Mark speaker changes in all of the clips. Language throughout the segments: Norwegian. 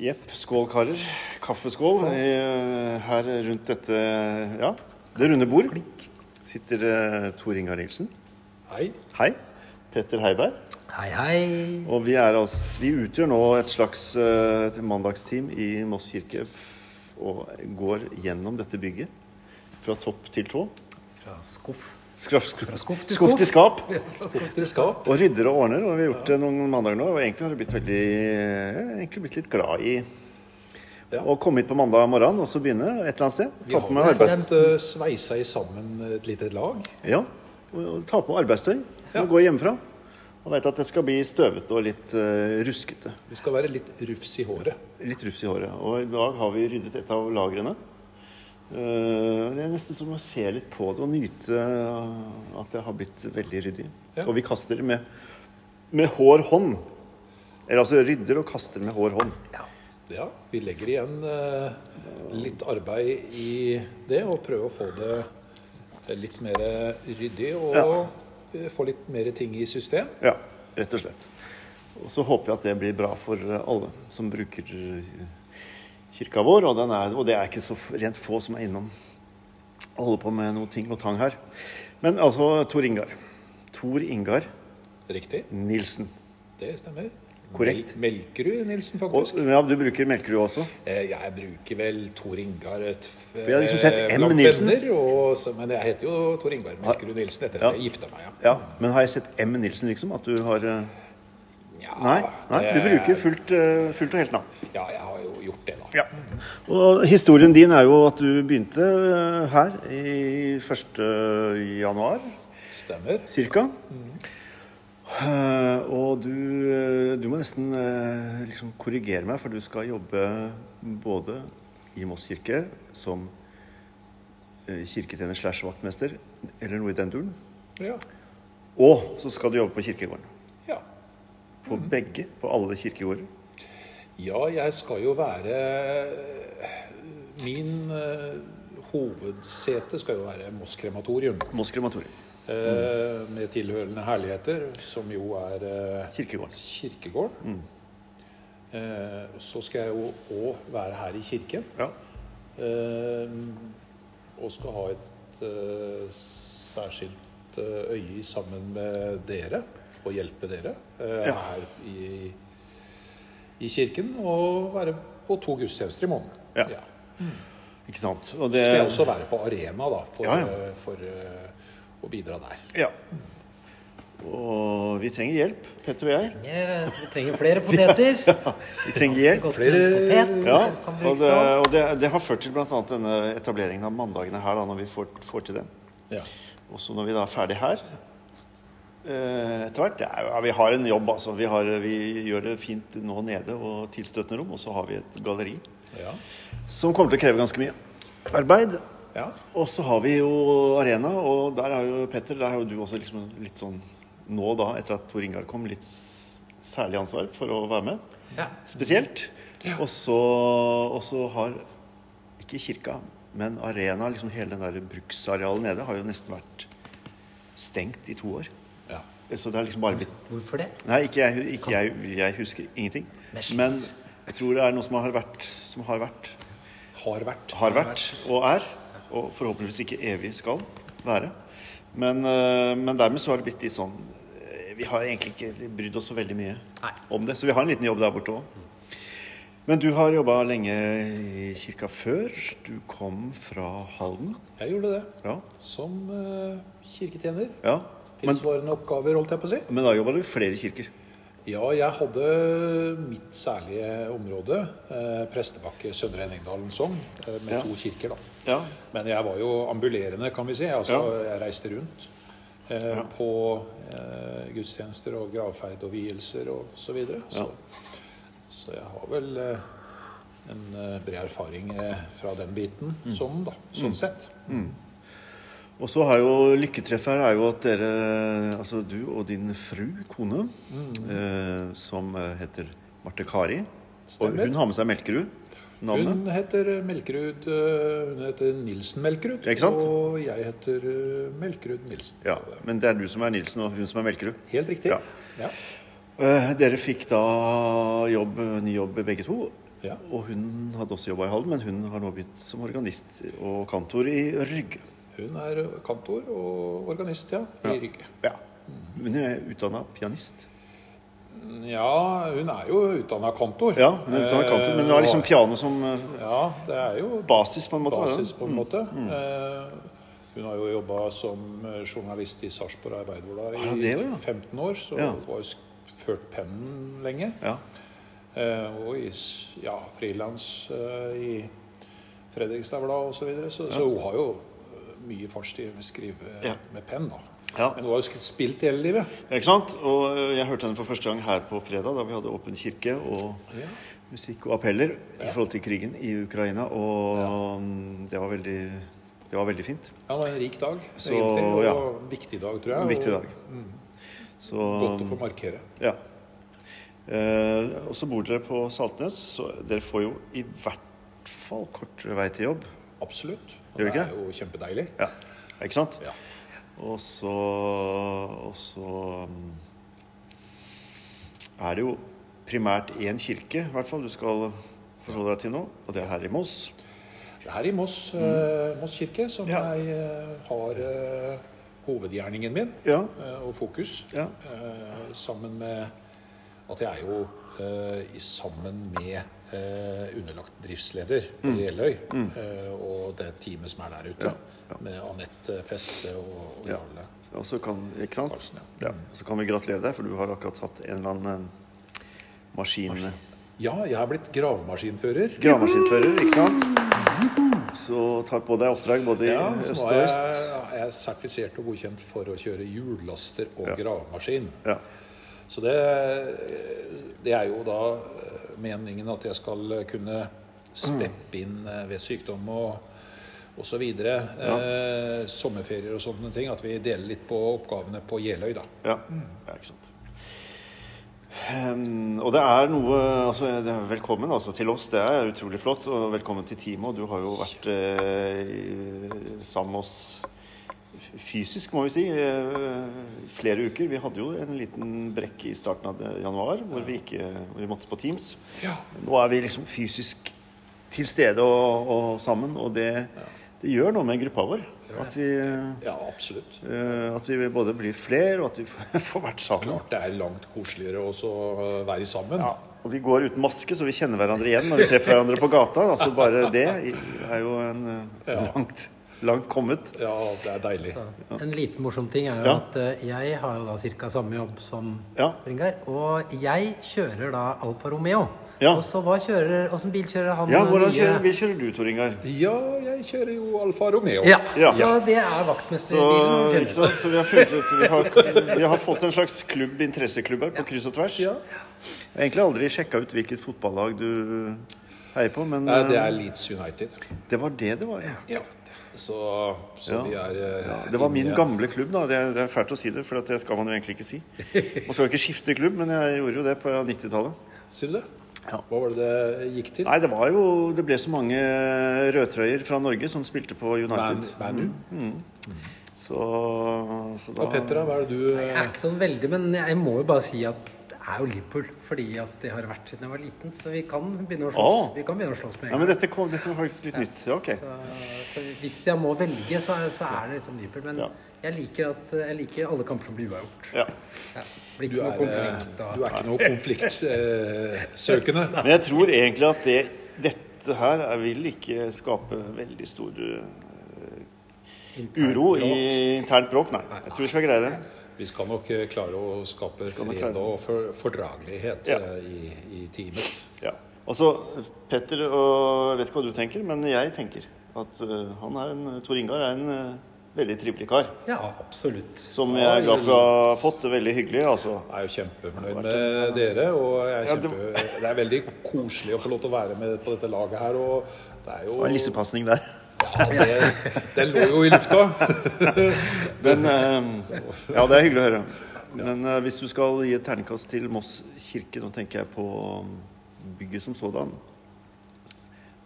Speaker 1: Jepp. Skål, karer. Kaffeskål eh, her rundt dette Ja, det runde bord. Sitter eh, Tor Ingar Nilsen.
Speaker 2: Hei.
Speaker 1: Hei. Petter Heiberg.
Speaker 3: Hei, hei.
Speaker 1: Og vi, er altså, vi utgjør nå et slags eh, et mandagsteam i Moss kirke f- og går gjennom dette bygget fra topp til tå.
Speaker 3: Fra skuff.
Speaker 1: Skraff, skraff,
Speaker 3: skuff til
Speaker 1: skuff til skap.
Speaker 2: Skifter skap.
Speaker 1: Og rydder og ordner. Og vi har gjort det noen mandager nå. Og egentlig har jeg blitt veldig jeg har egentlig blitt litt glad i
Speaker 2: Ja.
Speaker 1: å komme hit på mandag morgen og så begynne et eller annet sted.
Speaker 2: Vi
Speaker 1: Ta
Speaker 2: har
Speaker 1: på meg
Speaker 2: vel
Speaker 1: arbeids...
Speaker 2: fått eh, sveisa i sammen et lite lag.
Speaker 1: Ja. Og og ta på arbeidstøy
Speaker 2: Ja.
Speaker 1: og gå hjemmefra. Og veit at det skal bli støvete og litt eh, ruskete.
Speaker 2: Vi skal være litt rufs i håret.
Speaker 1: Litt rufs i håret. Og i dag har vi ryddet et av lagrene. Eh, det er nesten som å se litt på det og nyte eh, at det har blitt veldig ryddig.
Speaker 2: Ja.
Speaker 1: Og vi kaster med, med hår hånd. Eller altså rydder og kaster med hår hånd.
Speaker 3: Ja.
Speaker 2: Ja, vi legger igjen eh, litt arbeid i det og prøver å få det eh, litt mer ryddig og
Speaker 1: Ja.
Speaker 2: eh, få litt mer ting i system.
Speaker 1: Ja, rett og slett. Og så håper jeg at det blir bra for eh, alle som bruker eh, kirka vår. Og, den er, og det er ikke så f- rent få som er innom og holder på med noe ting og tang her. Men altså Tor Ingar. Tor Ingar
Speaker 2: Riktig,
Speaker 1: Nilsen.
Speaker 2: det stemmer.
Speaker 1: Korrekt.
Speaker 2: Mel Melkerud Nilsen,
Speaker 1: Og,
Speaker 2: faktisk.
Speaker 1: ja, du bruker Melkerud også?
Speaker 2: Eh, Jeg bruker vel Tor Ingar eh, et, For
Speaker 1: jeg har liksom sett M. Nilsen.
Speaker 2: Og, så- men jeg heter jo Tor Ingar Melkerud Nilsen etter
Speaker 1: Ja.
Speaker 2: at jeg gifta meg. ja.
Speaker 1: Ja. Men har jeg sett M. Nilsen, liksom? At du har eh,
Speaker 2: Ja,
Speaker 1: Nei, nei du
Speaker 2: Ah, det-
Speaker 1: bruker fullt, eh, fullt og helt navn.
Speaker 2: Ja, jeg har jo gjort det, da.
Speaker 1: Ja. Og historien din er jo at du begynte eh, her i 1. januar.
Speaker 2: Stemmer.
Speaker 1: Cirka. Eh, og du, eh, du må nesten eh, liksom korrigere meg, for du skal jobbe både i Moss kirke som eh, kirketjener slash vaktmester, eller noe i den duren,
Speaker 2: Ja.
Speaker 1: og så skal du jobbe på kirkegården.
Speaker 2: ja.
Speaker 1: På begge, på alle kirkegårder.
Speaker 2: Ja, jeg skal jo være Min eh, hovedsete skal jo være Moss krematorium.
Speaker 1: Moss krematorium. Mm.
Speaker 2: eh, med tilhørende herligheter, som jo er eh,
Speaker 1: Kirkegården.
Speaker 2: kirkegården.
Speaker 1: Mm.
Speaker 2: Eh, så skal jeg jo òg være her i kirken.
Speaker 1: Ja.
Speaker 2: eh, og skal ha et eh, særskilt eh, øye sammen med dere, og hjelpe dere eh,
Speaker 1: Ja.
Speaker 2: her i, i kirken. Og være på to gudstjenester i måneden.
Speaker 1: Ja. Ikke sant? Og det
Speaker 2: Skal jeg også være på arena, da, for,
Speaker 1: Ja, ja.
Speaker 2: eh, for eh, å bidra der.
Speaker 1: Ja. Og vi trenger hjelp, Petter og jeg.
Speaker 3: Jeg, vi trenger flere poteter.
Speaker 1: Vi trenger hjelp.
Speaker 3: Godt
Speaker 2: Flere-
Speaker 3: med potet.
Speaker 1: Ja,
Speaker 3: Kan
Speaker 1: og
Speaker 3: brukes
Speaker 1: det,
Speaker 3: da.
Speaker 1: og det, det har ført til bl.a. denne etableringen av mandagene her, da, når vi får, får til det.
Speaker 2: Ja.
Speaker 1: Også når vi da er ferdig her eh, etter hvert. det er jo- Ja, vi har en jobb, altså. Vi, har, vi gjør det fint nå nede og tilstøtende rom, og så har vi et galleri
Speaker 2: Ja.
Speaker 1: som kommer til å kreve ganske mye arbeid.
Speaker 2: ja.
Speaker 1: Og så har vi jo arena, og der er jo Petter, der har jo du også liksom litt sånn nå da, etter at Tor Ingar kom, litt s- særlig ansvar for å være med
Speaker 3: Ja.
Speaker 1: spesielt.
Speaker 2: Ja.
Speaker 1: Og så og så har ikke kirka, men arena, liksom hele den der bruksarealet nede, har jo nesten vært stengt i to år.
Speaker 2: ja.
Speaker 1: Så det har liksom bare blitt
Speaker 3: Hvorfor det?
Speaker 1: Nei, ikke jeg, ikke jeg, jeg husker ingenting.
Speaker 3: Men slik.
Speaker 1: Men jeg tror det er noe som har vært, som har vært,
Speaker 2: Har vært.
Speaker 1: har vært og er, og forhåpentligvis ikke evig skal være. Men, eh, men dermed så har det blitt litt sånn eh, Vi har egentlig ikke brydd oss så veldig mye
Speaker 3: Nei.
Speaker 1: om det, så vi har en liten jobb der borte òg. Men du har jobba lenge i kirka før. Du kom fra Halden.
Speaker 2: Jeg gjorde det.
Speaker 1: Ja.
Speaker 2: Som eh, kirketjener.
Speaker 1: ja. Men,
Speaker 2: Tilsvarende oppgaver, holdt jeg på å si.
Speaker 1: men da jobba du i flere kirker.
Speaker 2: Ja, jeg hadde mitt særlige område. Eh, Prestebakke, Søndre Enningdalen sogn. Eh, med
Speaker 1: Ja.
Speaker 2: to kirker, da.
Speaker 1: Ja.
Speaker 2: Men jeg var jo ambulerende, kan vi si. Altså, Jeg reiste rundt eh,
Speaker 1: Ja.
Speaker 2: på eh, gudstjenester og gravferd og vielser og så videre. Så, så jeg har vel eh, en eh, bred erfaring eh, fra den biten
Speaker 1: Mm.
Speaker 2: sånn, da. Sånn sett.
Speaker 1: Og så har jo lykketreffet her er jo at dere, altså du og din fru, kone,
Speaker 2: Mm.
Speaker 1: eh, som eh, heter Marte Kari Og
Speaker 2: Stemmer.
Speaker 1: hun har med seg Melkerud. Navnet.
Speaker 2: Hun heter eh, Melkerud øh, Hun heter Nilsen Melkerud.
Speaker 1: Ikke sant?
Speaker 2: Og jeg heter øh, Melkerud Nilsen.
Speaker 1: Ja, Men det er du som er Nilsen, og hun som er Melkerud.
Speaker 2: Helt riktig.
Speaker 1: Ja.
Speaker 2: Ja.
Speaker 1: Eh, Eh, Dere fikk da jobb, ny jobb begge to.
Speaker 2: Ja.
Speaker 1: Og hun hadde også jobba i Halden, men hun har nå begynt som organist og kantor i Rygge.
Speaker 2: Hun er kantor og organist, ja, i Rygge.
Speaker 1: Ja.
Speaker 2: Mhm.
Speaker 1: Hun er utdanna pianist.
Speaker 2: Ja, hun er jo utdanna kantor.
Speaker 1: Ja, hun er utdannet kantor, men hun har liksom
Speaker 2: Eh,
Speaker 1: piano som eh,
Speaker 2: Ja, det er jo
Speaker 1: basis, på en måte.
Speaker 2: basis, på en
Speaker 1: Mm.
Speaker 2: måte. Eh, Hun har jo jobba som eh, journalist i Sarpsborg Arbeiderblad
Speaker 1: Ah,
Speaker 2: i
Speaker 1: det var det.
Speaker 2: 15 år, så
Speaker 1: Ja.
Speaker 2: hun var jo sk- ført pennen lenge.
Speaker 1: Ja.
Speaker 2: Eh, Og i s- ja, frilans eh, i Fredrikstad Blad osv. Så, videre. så, så hun har jo eh, mye fartstid med å skrive
Speaker 1: Ja.
Speaker 2: med penn, da.
Speaker 1: Ja.
Speaker 2: Men hun har jo sk- spilt hele livet.
Speaker 1: Ikke sant? Og eh, jeg hørte henne for første gang her på fredag, da vi hadde åpen kirke og
Speaker 2: Ja.
Speaker 1: musikk og appeller i forhold til krigen i Ukraina, og mm, det var veldig, det var veldig fint.
Speaker 2: det var en rik dag,
Speaker 1: Så,
Speaker 2: egentlig. Og
Speaker 1: ja.
Speaker 2: en viktig dag, tror jeg.
Speaker 1: En viktig
Speaker 2: og
Speaker 1: dag. Så um,
Speaker 2: Godt å få markere.
Speaker 1: Ja. Eh, og så bor dere på Saltnes, så dere får jo i hvert fall kortere vei til jobb.
Speaker 2: Absolutt. Og
Speaker 1: Gjør
Speaker 2: det
Speaker 1: det ikke?
Speaker 2: er jo kjempedeilig.
Speaker 1: Ja, ikke sant?
Speaker 2: Ja.
Speaker 1: Og så Og så mm, er det jo primært én kirke, i hvert fall, du skal forholde deg til nå, og det er her i Moss.
Speaker 2: Det er i Moss, eh, Moss kirke som
Speaker 1: Mm. Ja.
Speaker 2: jeg eh, har eh, hovedgjerningen min
Speaker 1: Ja.
Speaker 2: eh, og fokus.
Speaker 1: Ja.
Speaker 2: Eh, sammen med at jeg er jo eh, i- sammen med eh, underlagt driftsleder på
Speaker 1: Mm.
Speaker 2: Jeløy eh, og det teamet som er der ute, med Anette Feste og, og
Speaker 1: Ja.
Speaker 2: Jarle.
Speaker 1: Og så kan Ikke sant?
Speaker 2: Karlsen,
Speaker 1: Ja. Og så kan vi gratulere deg, for du har akkurat hatt en eller annen eh, maskin... eh,
Speaker 2: Ja, jeg har blitt gravemaskinfører.
Speaker 1: Gravemaskinfører, ikke sant? Så tar på deg oppdrag både i
Speaker 2: Ja, så
Speaker 1: øst
Speaker 2: nå
Speaker 1: og
Speaker 2: er
Speaker 1: vest.
Speaker 2: jeg, er jeg sertifisert og godkjent for å kjøre hjullaster og gravemaskin.
Speaker 1: Ja.
Speaker 2: Så det, det er jo da eh, meningen at jeg skal kunne steppe inn eh, ved sykdom og, og så videre. Eh, sommerferier og sånne ting. At vi deler litt på oppgavene på Jeløy, da.
Speaker 1: Ja, ja ikke sant. Ehm, og det er noe altså, det er Velkommen altså, til oss, det er utrolig flott. Og velkommen til teamet. Og du har jo vært eh, i- sammen med oss f- fysisk, må vi si, eh, i flere uker. Vi hadde jo en liten brekk i starten av det- januar hvor vi, ikke, hvor vi måtte på Teams.
Speaker 2: Ja.
Speaker 1: Nå er vi liksom fysisk til stede og, og sammen, og det, det gjør noe med gruppa vår. At vi,
Speaker 2: absolutt.
Speaker 1: eh, at vi både blir flere, og at vi får- får vært sammen.
Speaker 2: Klart det er langt koseligere også å være sammen.
Speaker 1: Ja, og vi går uten maske, så vi kjenner hverandre igjen når vi treffer hverandre på gata. Altså bare det er jo en eh,
Speaker 2: Ja.
Speaker 1: langt, langt kommet.
Speaker 2: Ja, det er deilig.
Speaker 3: En liten morsom ting er jo
Speaker 1: Ja.
Speaker 3: at eh, jeg har jo da ca. samme jobb som
Speaker 1: Ja.
Speaker 3: Ringar. Og jeg kjører da Alfa Romeo.
Speaker 1: Ja.
Speaker 3: Og så hva kjører Åssen bil kjører han?
Speaker 1: Ja, hvordan
Speaker 3: nye-
Speaker 1: kjører, vil kjører du, Tor Ingar?
Speaker 2: Ja, jeg kjører jo Alfa Romeo.
Speaker 3: Ja.
Speaker 1: Ja.
Speaker 3: Så det er
Speaker 1: Så,
Speaker 3: vaktmesterbilen.
Speaker 1: ikke sant? så vi har funnet ut vi har, vi har fått en slags klubb, interesseklubb her, på kryss og tvers.
Speaker 2: Ja.
Speaker 1: Jeg har egentlig aldri sjekka ut hvilket fotballag du heier på, men
Speaker 2: Nei, det
Speaker 1: eh,
Speaker 2: er Leeds United.
Speaker 1: Det var det det var, ja.
Speaker 2: Ja. Så, så
Speaker 1: Ja.
Speaker 2: vi er eh,
Speaker 1: Det var min
Speaker 2: inne-
Speaker 1: gamle klubb, da. Det er, det er fælt å si det, for at det skal man jo egentlig ikke si. Man skal jo ikke skifte klubb, men jeg gjorde jo det på 90-tallet.
Speaker 2: Sier du det?
Speaker 1: Ja.
Speaker 2: Hva var det det gikk til?
Speaker 1: Nei, det var jo Det ble så mange rødtrøyer fra Norge som spilte på
Speaker 2: Man,
Speaker 1: United. Mm.
Speaker 2: Manu.
Speaker 1: Så, så da
Speaker 2: Og Petra, hva er det du
Speaker 3: Jeg er ikke sånn veldig, men jeg må jo bare si at det er jo Liverpool. Fordi at det har vært siden jeg var liten. Så vi kan begynne å slåss,
Speaker 1: Å.
Speaker 3: vi kan begynne å slåss med
Speaker 1: Nei,
Speaker 3: en gang.
Speaker 1: men dette, kom, dette var faktisk litt nytt. Ja, ok.
Speaker 3: Så, så hvis jeg må velge, så, er- så er det liksom Liverpool. Men
Speaker 1: Ja.
Speaker 3: jeg, liker at, jeg liker alle kamper som blir uavgjort.
Speaker 1: Ja.
Speaker 3: Ja. Blir
Speaker 2: Du
Speaker 3: ikke
Speaker 2: er,
Speaker 3: noe
Speaker 2: eh,
Speaker 3: konflikt
Speaker 2: du
Speaker 3: da.
Speaker 2: er ikke noe eh, konfliktsøkende.
Speaker 1: Men jeg tror egentlig at det, dette her er- vil ikke skape veldig stor eh, uro i internt bråk. Nei. Jeg tror vi skal greie det.
Speaker 2: Vi skal nok eh, klare å skape
Speaker 1: nok
Speaker 2: fred
Speaker 1: klare det.
Speaker 2: og for- fordragelighet
Speaker 1: Ja.
Speaker 2: eh, i, i teamet.
Speaker 1: Ja. Og så Petter, og jeg vet ikke hva du tenker, men jeg tenker at eh, han er en Tor Ingar er en eh, veldig trivelig kar.
Speaker 3: Ja, absolutt.
Speaker 1: Som jeg er glad for å ha fått. Det er veldig hyggelig, altså.
Speaker 2: Jeg er jo kjempefornøyd med dere. og jeg er
Speaker 1: Ja, det-
Speaker 2: kjempe, Det er veldig koselig å få lov til å være med på dette laget her. og det er
Speaker 1: Det var en
Speaker 2: jo...
Speaker 1: lissepasning der.
Speaker 2: Ja, det, den lå jo i lufta.
Speaker 1: Men eh, Ja, det er hyggelig å høre. Men eh, hvis du skal gi et terningkast til Moss kirke, nå tenker jeg på um, bygget som sådan.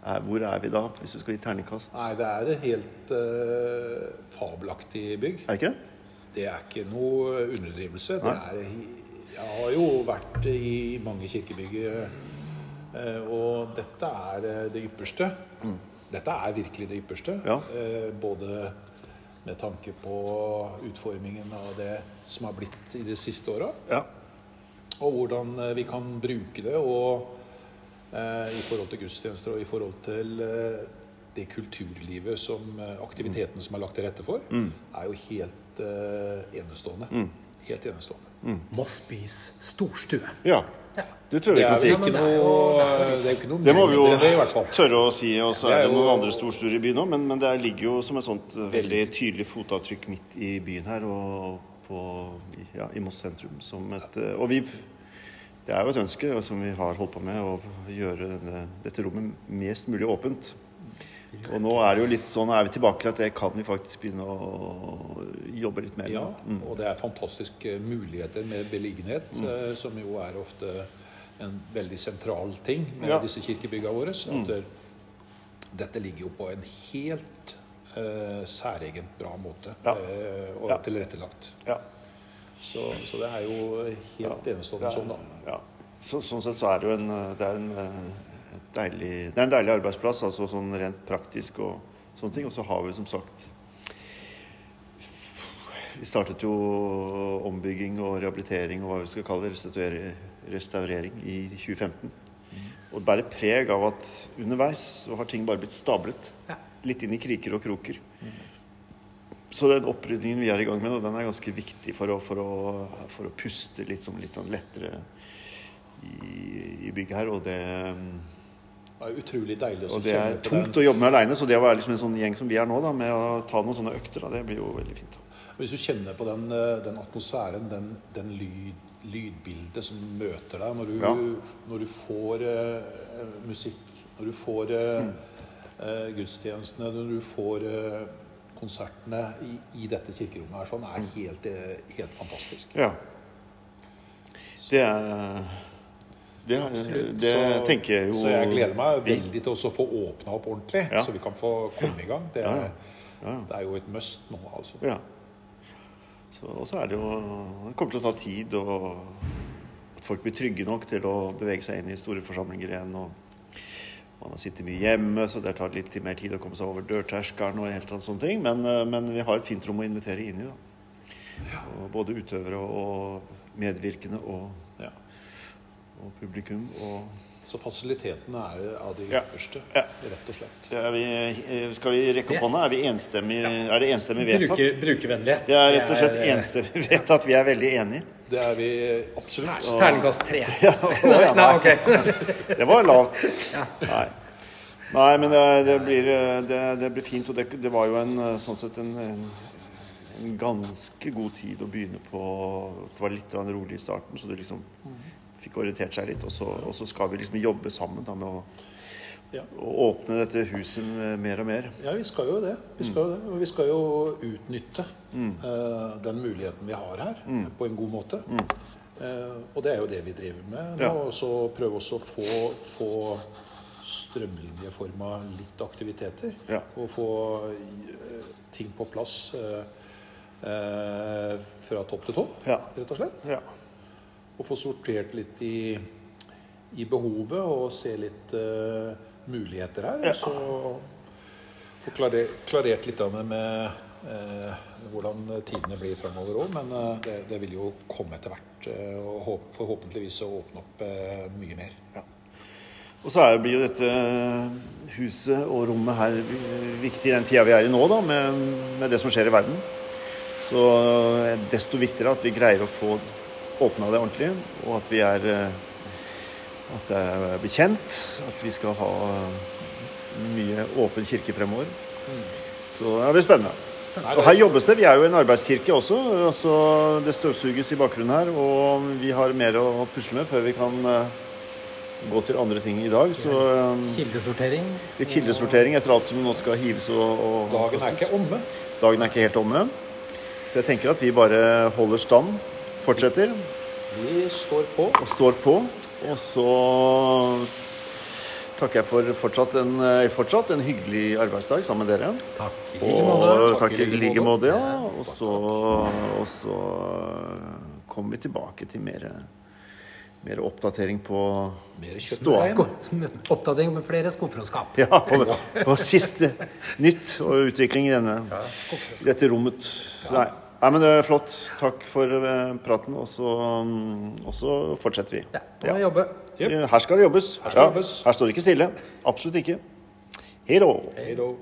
Speaker 1: Eh, Hvor er vi da, hvis du skal gi terningkast?
Speaker 2: Nei, det er et helt eh, fabelaktig bygg.
Speaker 1: Er det ikke det?
Speaker 2: Det er ikke noe underdrivelse. Det er he- Jeg har jo vært i mange kirkebygg, eh, og dette er eh, det ypperste. Dette er virkelig det ypperste.
Speaker 1: Ja.
Speaker 2: Eh, Både med tanke på utformingen av det som har blitt i de siste åra,
Speaker 1: Ja.
Speaker 2: og hvordan eh, vi kan bruke det og eh, i forhold til gudstjenester og i forhold til eh, det kulturlivet som eh, aktiviteten som er lagt til rette for,
Speaker 1: Mm.
Speaker 2: er jo helt eh, enestående. Helt enestående.
Speaker 3: Moss bys storstue.
Speaker 1: ja. Det tror jeg
Speaker 2: Det
Speaker 1: vi
Speaker 2: er
Speaker 1: kan si.
Speaker 2: vel ikke noe Det er jo ikke noe
Speaker 1: Det må vi jo
Speaker 2: mindre enn det, i hvert fall.
Speaker 1: tørre å si. Og så
Speaker 2: Det er
Speaker 1: er det noen
Speaker 2: jo-
Speaker 1: andre storstuer i byen òg, men, men det ligger jo som et sånt eh, veldig tydelig fotavtrykk midt i byen her og på, i- ja, i Moss sentrum. Som et, eh, og vi Det er jo et ønske og som vi har holdt på med, å gjøre denne, dette rommet mest mulig åpent. Og nå er det jo litt sånn, er vi tilbake til at det kan vi faktisk begynne å jobbe litt mer med.
Speaker 2: Ja, og det er fantastiske muligheter med beliggenhet,
Speaker 1: Mm.
Speaker 2: eh, som jo er ofte en veldig sentral ting med
Speaker 1: Ja. Mm.
Speaker 2: disse kirkebyggene våre. så At det- dette ligger jo på en helt eh, særegent bra måte
Speaker 1: Ja.
Speaker 2: eh, og
Speaker 1: Ja.
Speaker 2: tilrettelagt.
Speaker 1: Ja.
Speaker 2: Så, så det er jo helt enestående sånn, da.
Speaker 1: Ja. Så, sånn sett så er det jo en, eh, det er en eh, et deilig, det er en deilig arbeidsplass, altså sånn rent praktisk og sånne ting. Og så har vi som sagt Vi startet jo ombygging og rehabilitering og hva vi skal kalle det, restaurer- restaurering i 2015.
Speaker 2: Mm.
Speaker 1: Og det bærer preg av at underveis så har ting bare blitt stablet.
Speaker 3: Ja.
Speaker 1: Litt inn i kriker og kroker. Så den opprydningen vi er i gang med nå, den er ganske viktig for å, for å, for å puste litt, sånn- litt sånn lettere i, i bygget her. Og det,
Speaker 2: Det er utrolig deilig å
Speaker 1: og det er
Speaker 2: kjenne på den.
Speaker 1: tungt å jobbe med aleine, så det å være liksom en sånn gjeng som vi er nå, da, med å ta noen sånne økter, da, det blir jo veldig fint. Da.
Speaker 2: Hvis du kjenner på den, eh, den atmosfæren, den, den lyd, lydbildet som møter deg når du,
Speaker 1: Ja.
Speaker 2: når du får eh, musikk, når du får eh,
Speaker 1: Mm.
Speaker 2: eh, gudstjenestene, når du får eh, konsertene i, i dette kirkerommet her, sånn,
Speaker 1: Mm.
Speaker 2: er helt, eh, helt fantastisk.
Speaker 1: Ja. Det er det, er- Eh, det
Speaker 2: Så-
Speaker 1: tenker jeg jo
Speaker 2: Så jeg gleder meg
Speaker 1: vi-
Speaker 2: veldig til også å få åpna opp ordentlig,
Speaker 1: Ja.
Speaker 2: så vi kan få komme i gang. Det,
Speaker 1: Ja,
Speaker 2: er-
Speaker 1: ja. Ja.
Speaker 2: det er jo et must nå, altså.
Speaker 1: Ja. Så, og så er det jo Det kommer til å ta tid, og at folk blir trygge nok til å bevege seg inn i store forsamlinger igjen. og Man har sittet mye hjemme, så det tar litt mer tid å komme seg over dørterskelen. og helt sånne ting, men, eh, men vi har et fint rom å invitere inn i. da. Og både utøvere og medvirkende og,
Speaker 2: Ja.
Speaker 1: og publikum. og...
Speaker 2: Så fasilitetene er av de
Speaker 1: Ja.
Speaker 2: ypperste,
Speaker 1: Ja.
Speaker 2: rett og slett.
Speaker 1: Det er vi, eh, skal vi rekke opp hånda? Er, vi enstemmig, er det enstemmig vedtatt?
Speaker 3: Bruker, brukervennlighet.
Speaker 1: Det er rett og slett
Speaker 3: Det er, eh,
Speaker 1: enstemmig vedtatt. Vi er veldig enige.
Speaker 2: Det er vi absolutt.
Speaker 3: Terningkast tre.
Speaker 1: Å, ja,
Speaker 3: Nei, ok.
Speaker 1: Det var lavt. Nei. Nei, men det, det, blir, eh, det, det blir fint. Og det, det var jo en, eh, sånn sett en, en, en ganske god tid å begynne på. Det var litt grann rolig i starten, så du liksom fikk orientert seg litt. Og så, og så skal vi liksom jobbe sammen da, med å,
Speaker 2: Ja.
Speaker 1: å åpne dette huset eh, mer og mer.
Speaker 2: Ja, vi skal jo det. Vi skal jo, det. Og vi skal jo utnytte
Speaker 1: Mm.
Speaker 2: eh, den muligheten vi har her, på en god måte. Eh, og det er jo det vi driver med nå.
Speaker 1: Mm. Ja.
Speaker 2: Og så prøve også å få, få strømlinjeforma litt aktiviteter.
Speaker 1: Ja.
Speaker 2: Og få eh, ting på plass eh, eh, fra topp til tå,
Speaker 1: Ja.
Speaker 2: rett og slett.
Speaker 1: Ja.
Speaker 2: og få sortert litt i, i behovet og se litt eh, muligheter her.
Speaker 1: Ja.
Speaker 2: Og så få klarer, klarert litt av det med eh, hvordan tidene blir fremover òg. Men eh, det, det vil jo komme etter hvert. eh, og håp, forhåpentligvis å åpne opp eh, mye mer.
Speaker 1: Og så er, blir jo dette huset og rommet her viktig i den tida vi er i nå, da, med, med det som skjer i verden. Så er det desto viktigere at vi greier å få åpna det ordentlig, og at vi er eh, At det er bekjent. At vi skal ha eh, mye åpen kirke fremover. Så det blir spennende. Og her jobbes det. Vi er jo en arbeidskirke også. Altså, det støvsuges i bakgrunnen her, og vi har mer å pusle med før vi kan eh, gå til andre ting i dag. Så eh,
Speaker 3: Kildesortering.
Speaker 1: litt kildesortering etter alt som nå skal hives og, og
Speaker 2: Dagen er ikke omme.
Speaker 1: Dagen er ikke helt omme. Så jeg tenker at vi bare holder stand, fortsetter
Speaker 2: Vi står på.
Speaker 1: og står på. Og så takker jeg for fortsatt en, eh, fortsatt en hyggelig arbeidsdag sammen med dere.
Speaker 3: Takk. I like måte.
Speaker 1: Og
Speaker 2: Takk
Speaker 1: takk i like måte, ja.
Speaker 3: Ja,
Speaker 1: Og så, og så kommer vi tilbake til mer, mer oppdatering på
Speaker 2: Mer
Speaker 1: ståa.
Speaker 2: kjøttdeig.
Speaker 3: Sko- som- Oppdatering med flere skuffråskap.
Speaker 1: Ja, på, på siste nytt og utvikling i denne, i dette rommet. Nei. Nei, men det er flott. Takk for eh, praten, og så, mm, og så fortsetter vi.
Speaker 3: Ja, må jobbe.
Speaker 1: Her skal det jobbes.
Speaker 2: Her skal det
Speaker 1: Ja,
Speaker 2: jobbes.
Speaker 1: her står det ikke stille. Absolutt ikke. Hei då.
Speaker 2: Hei då.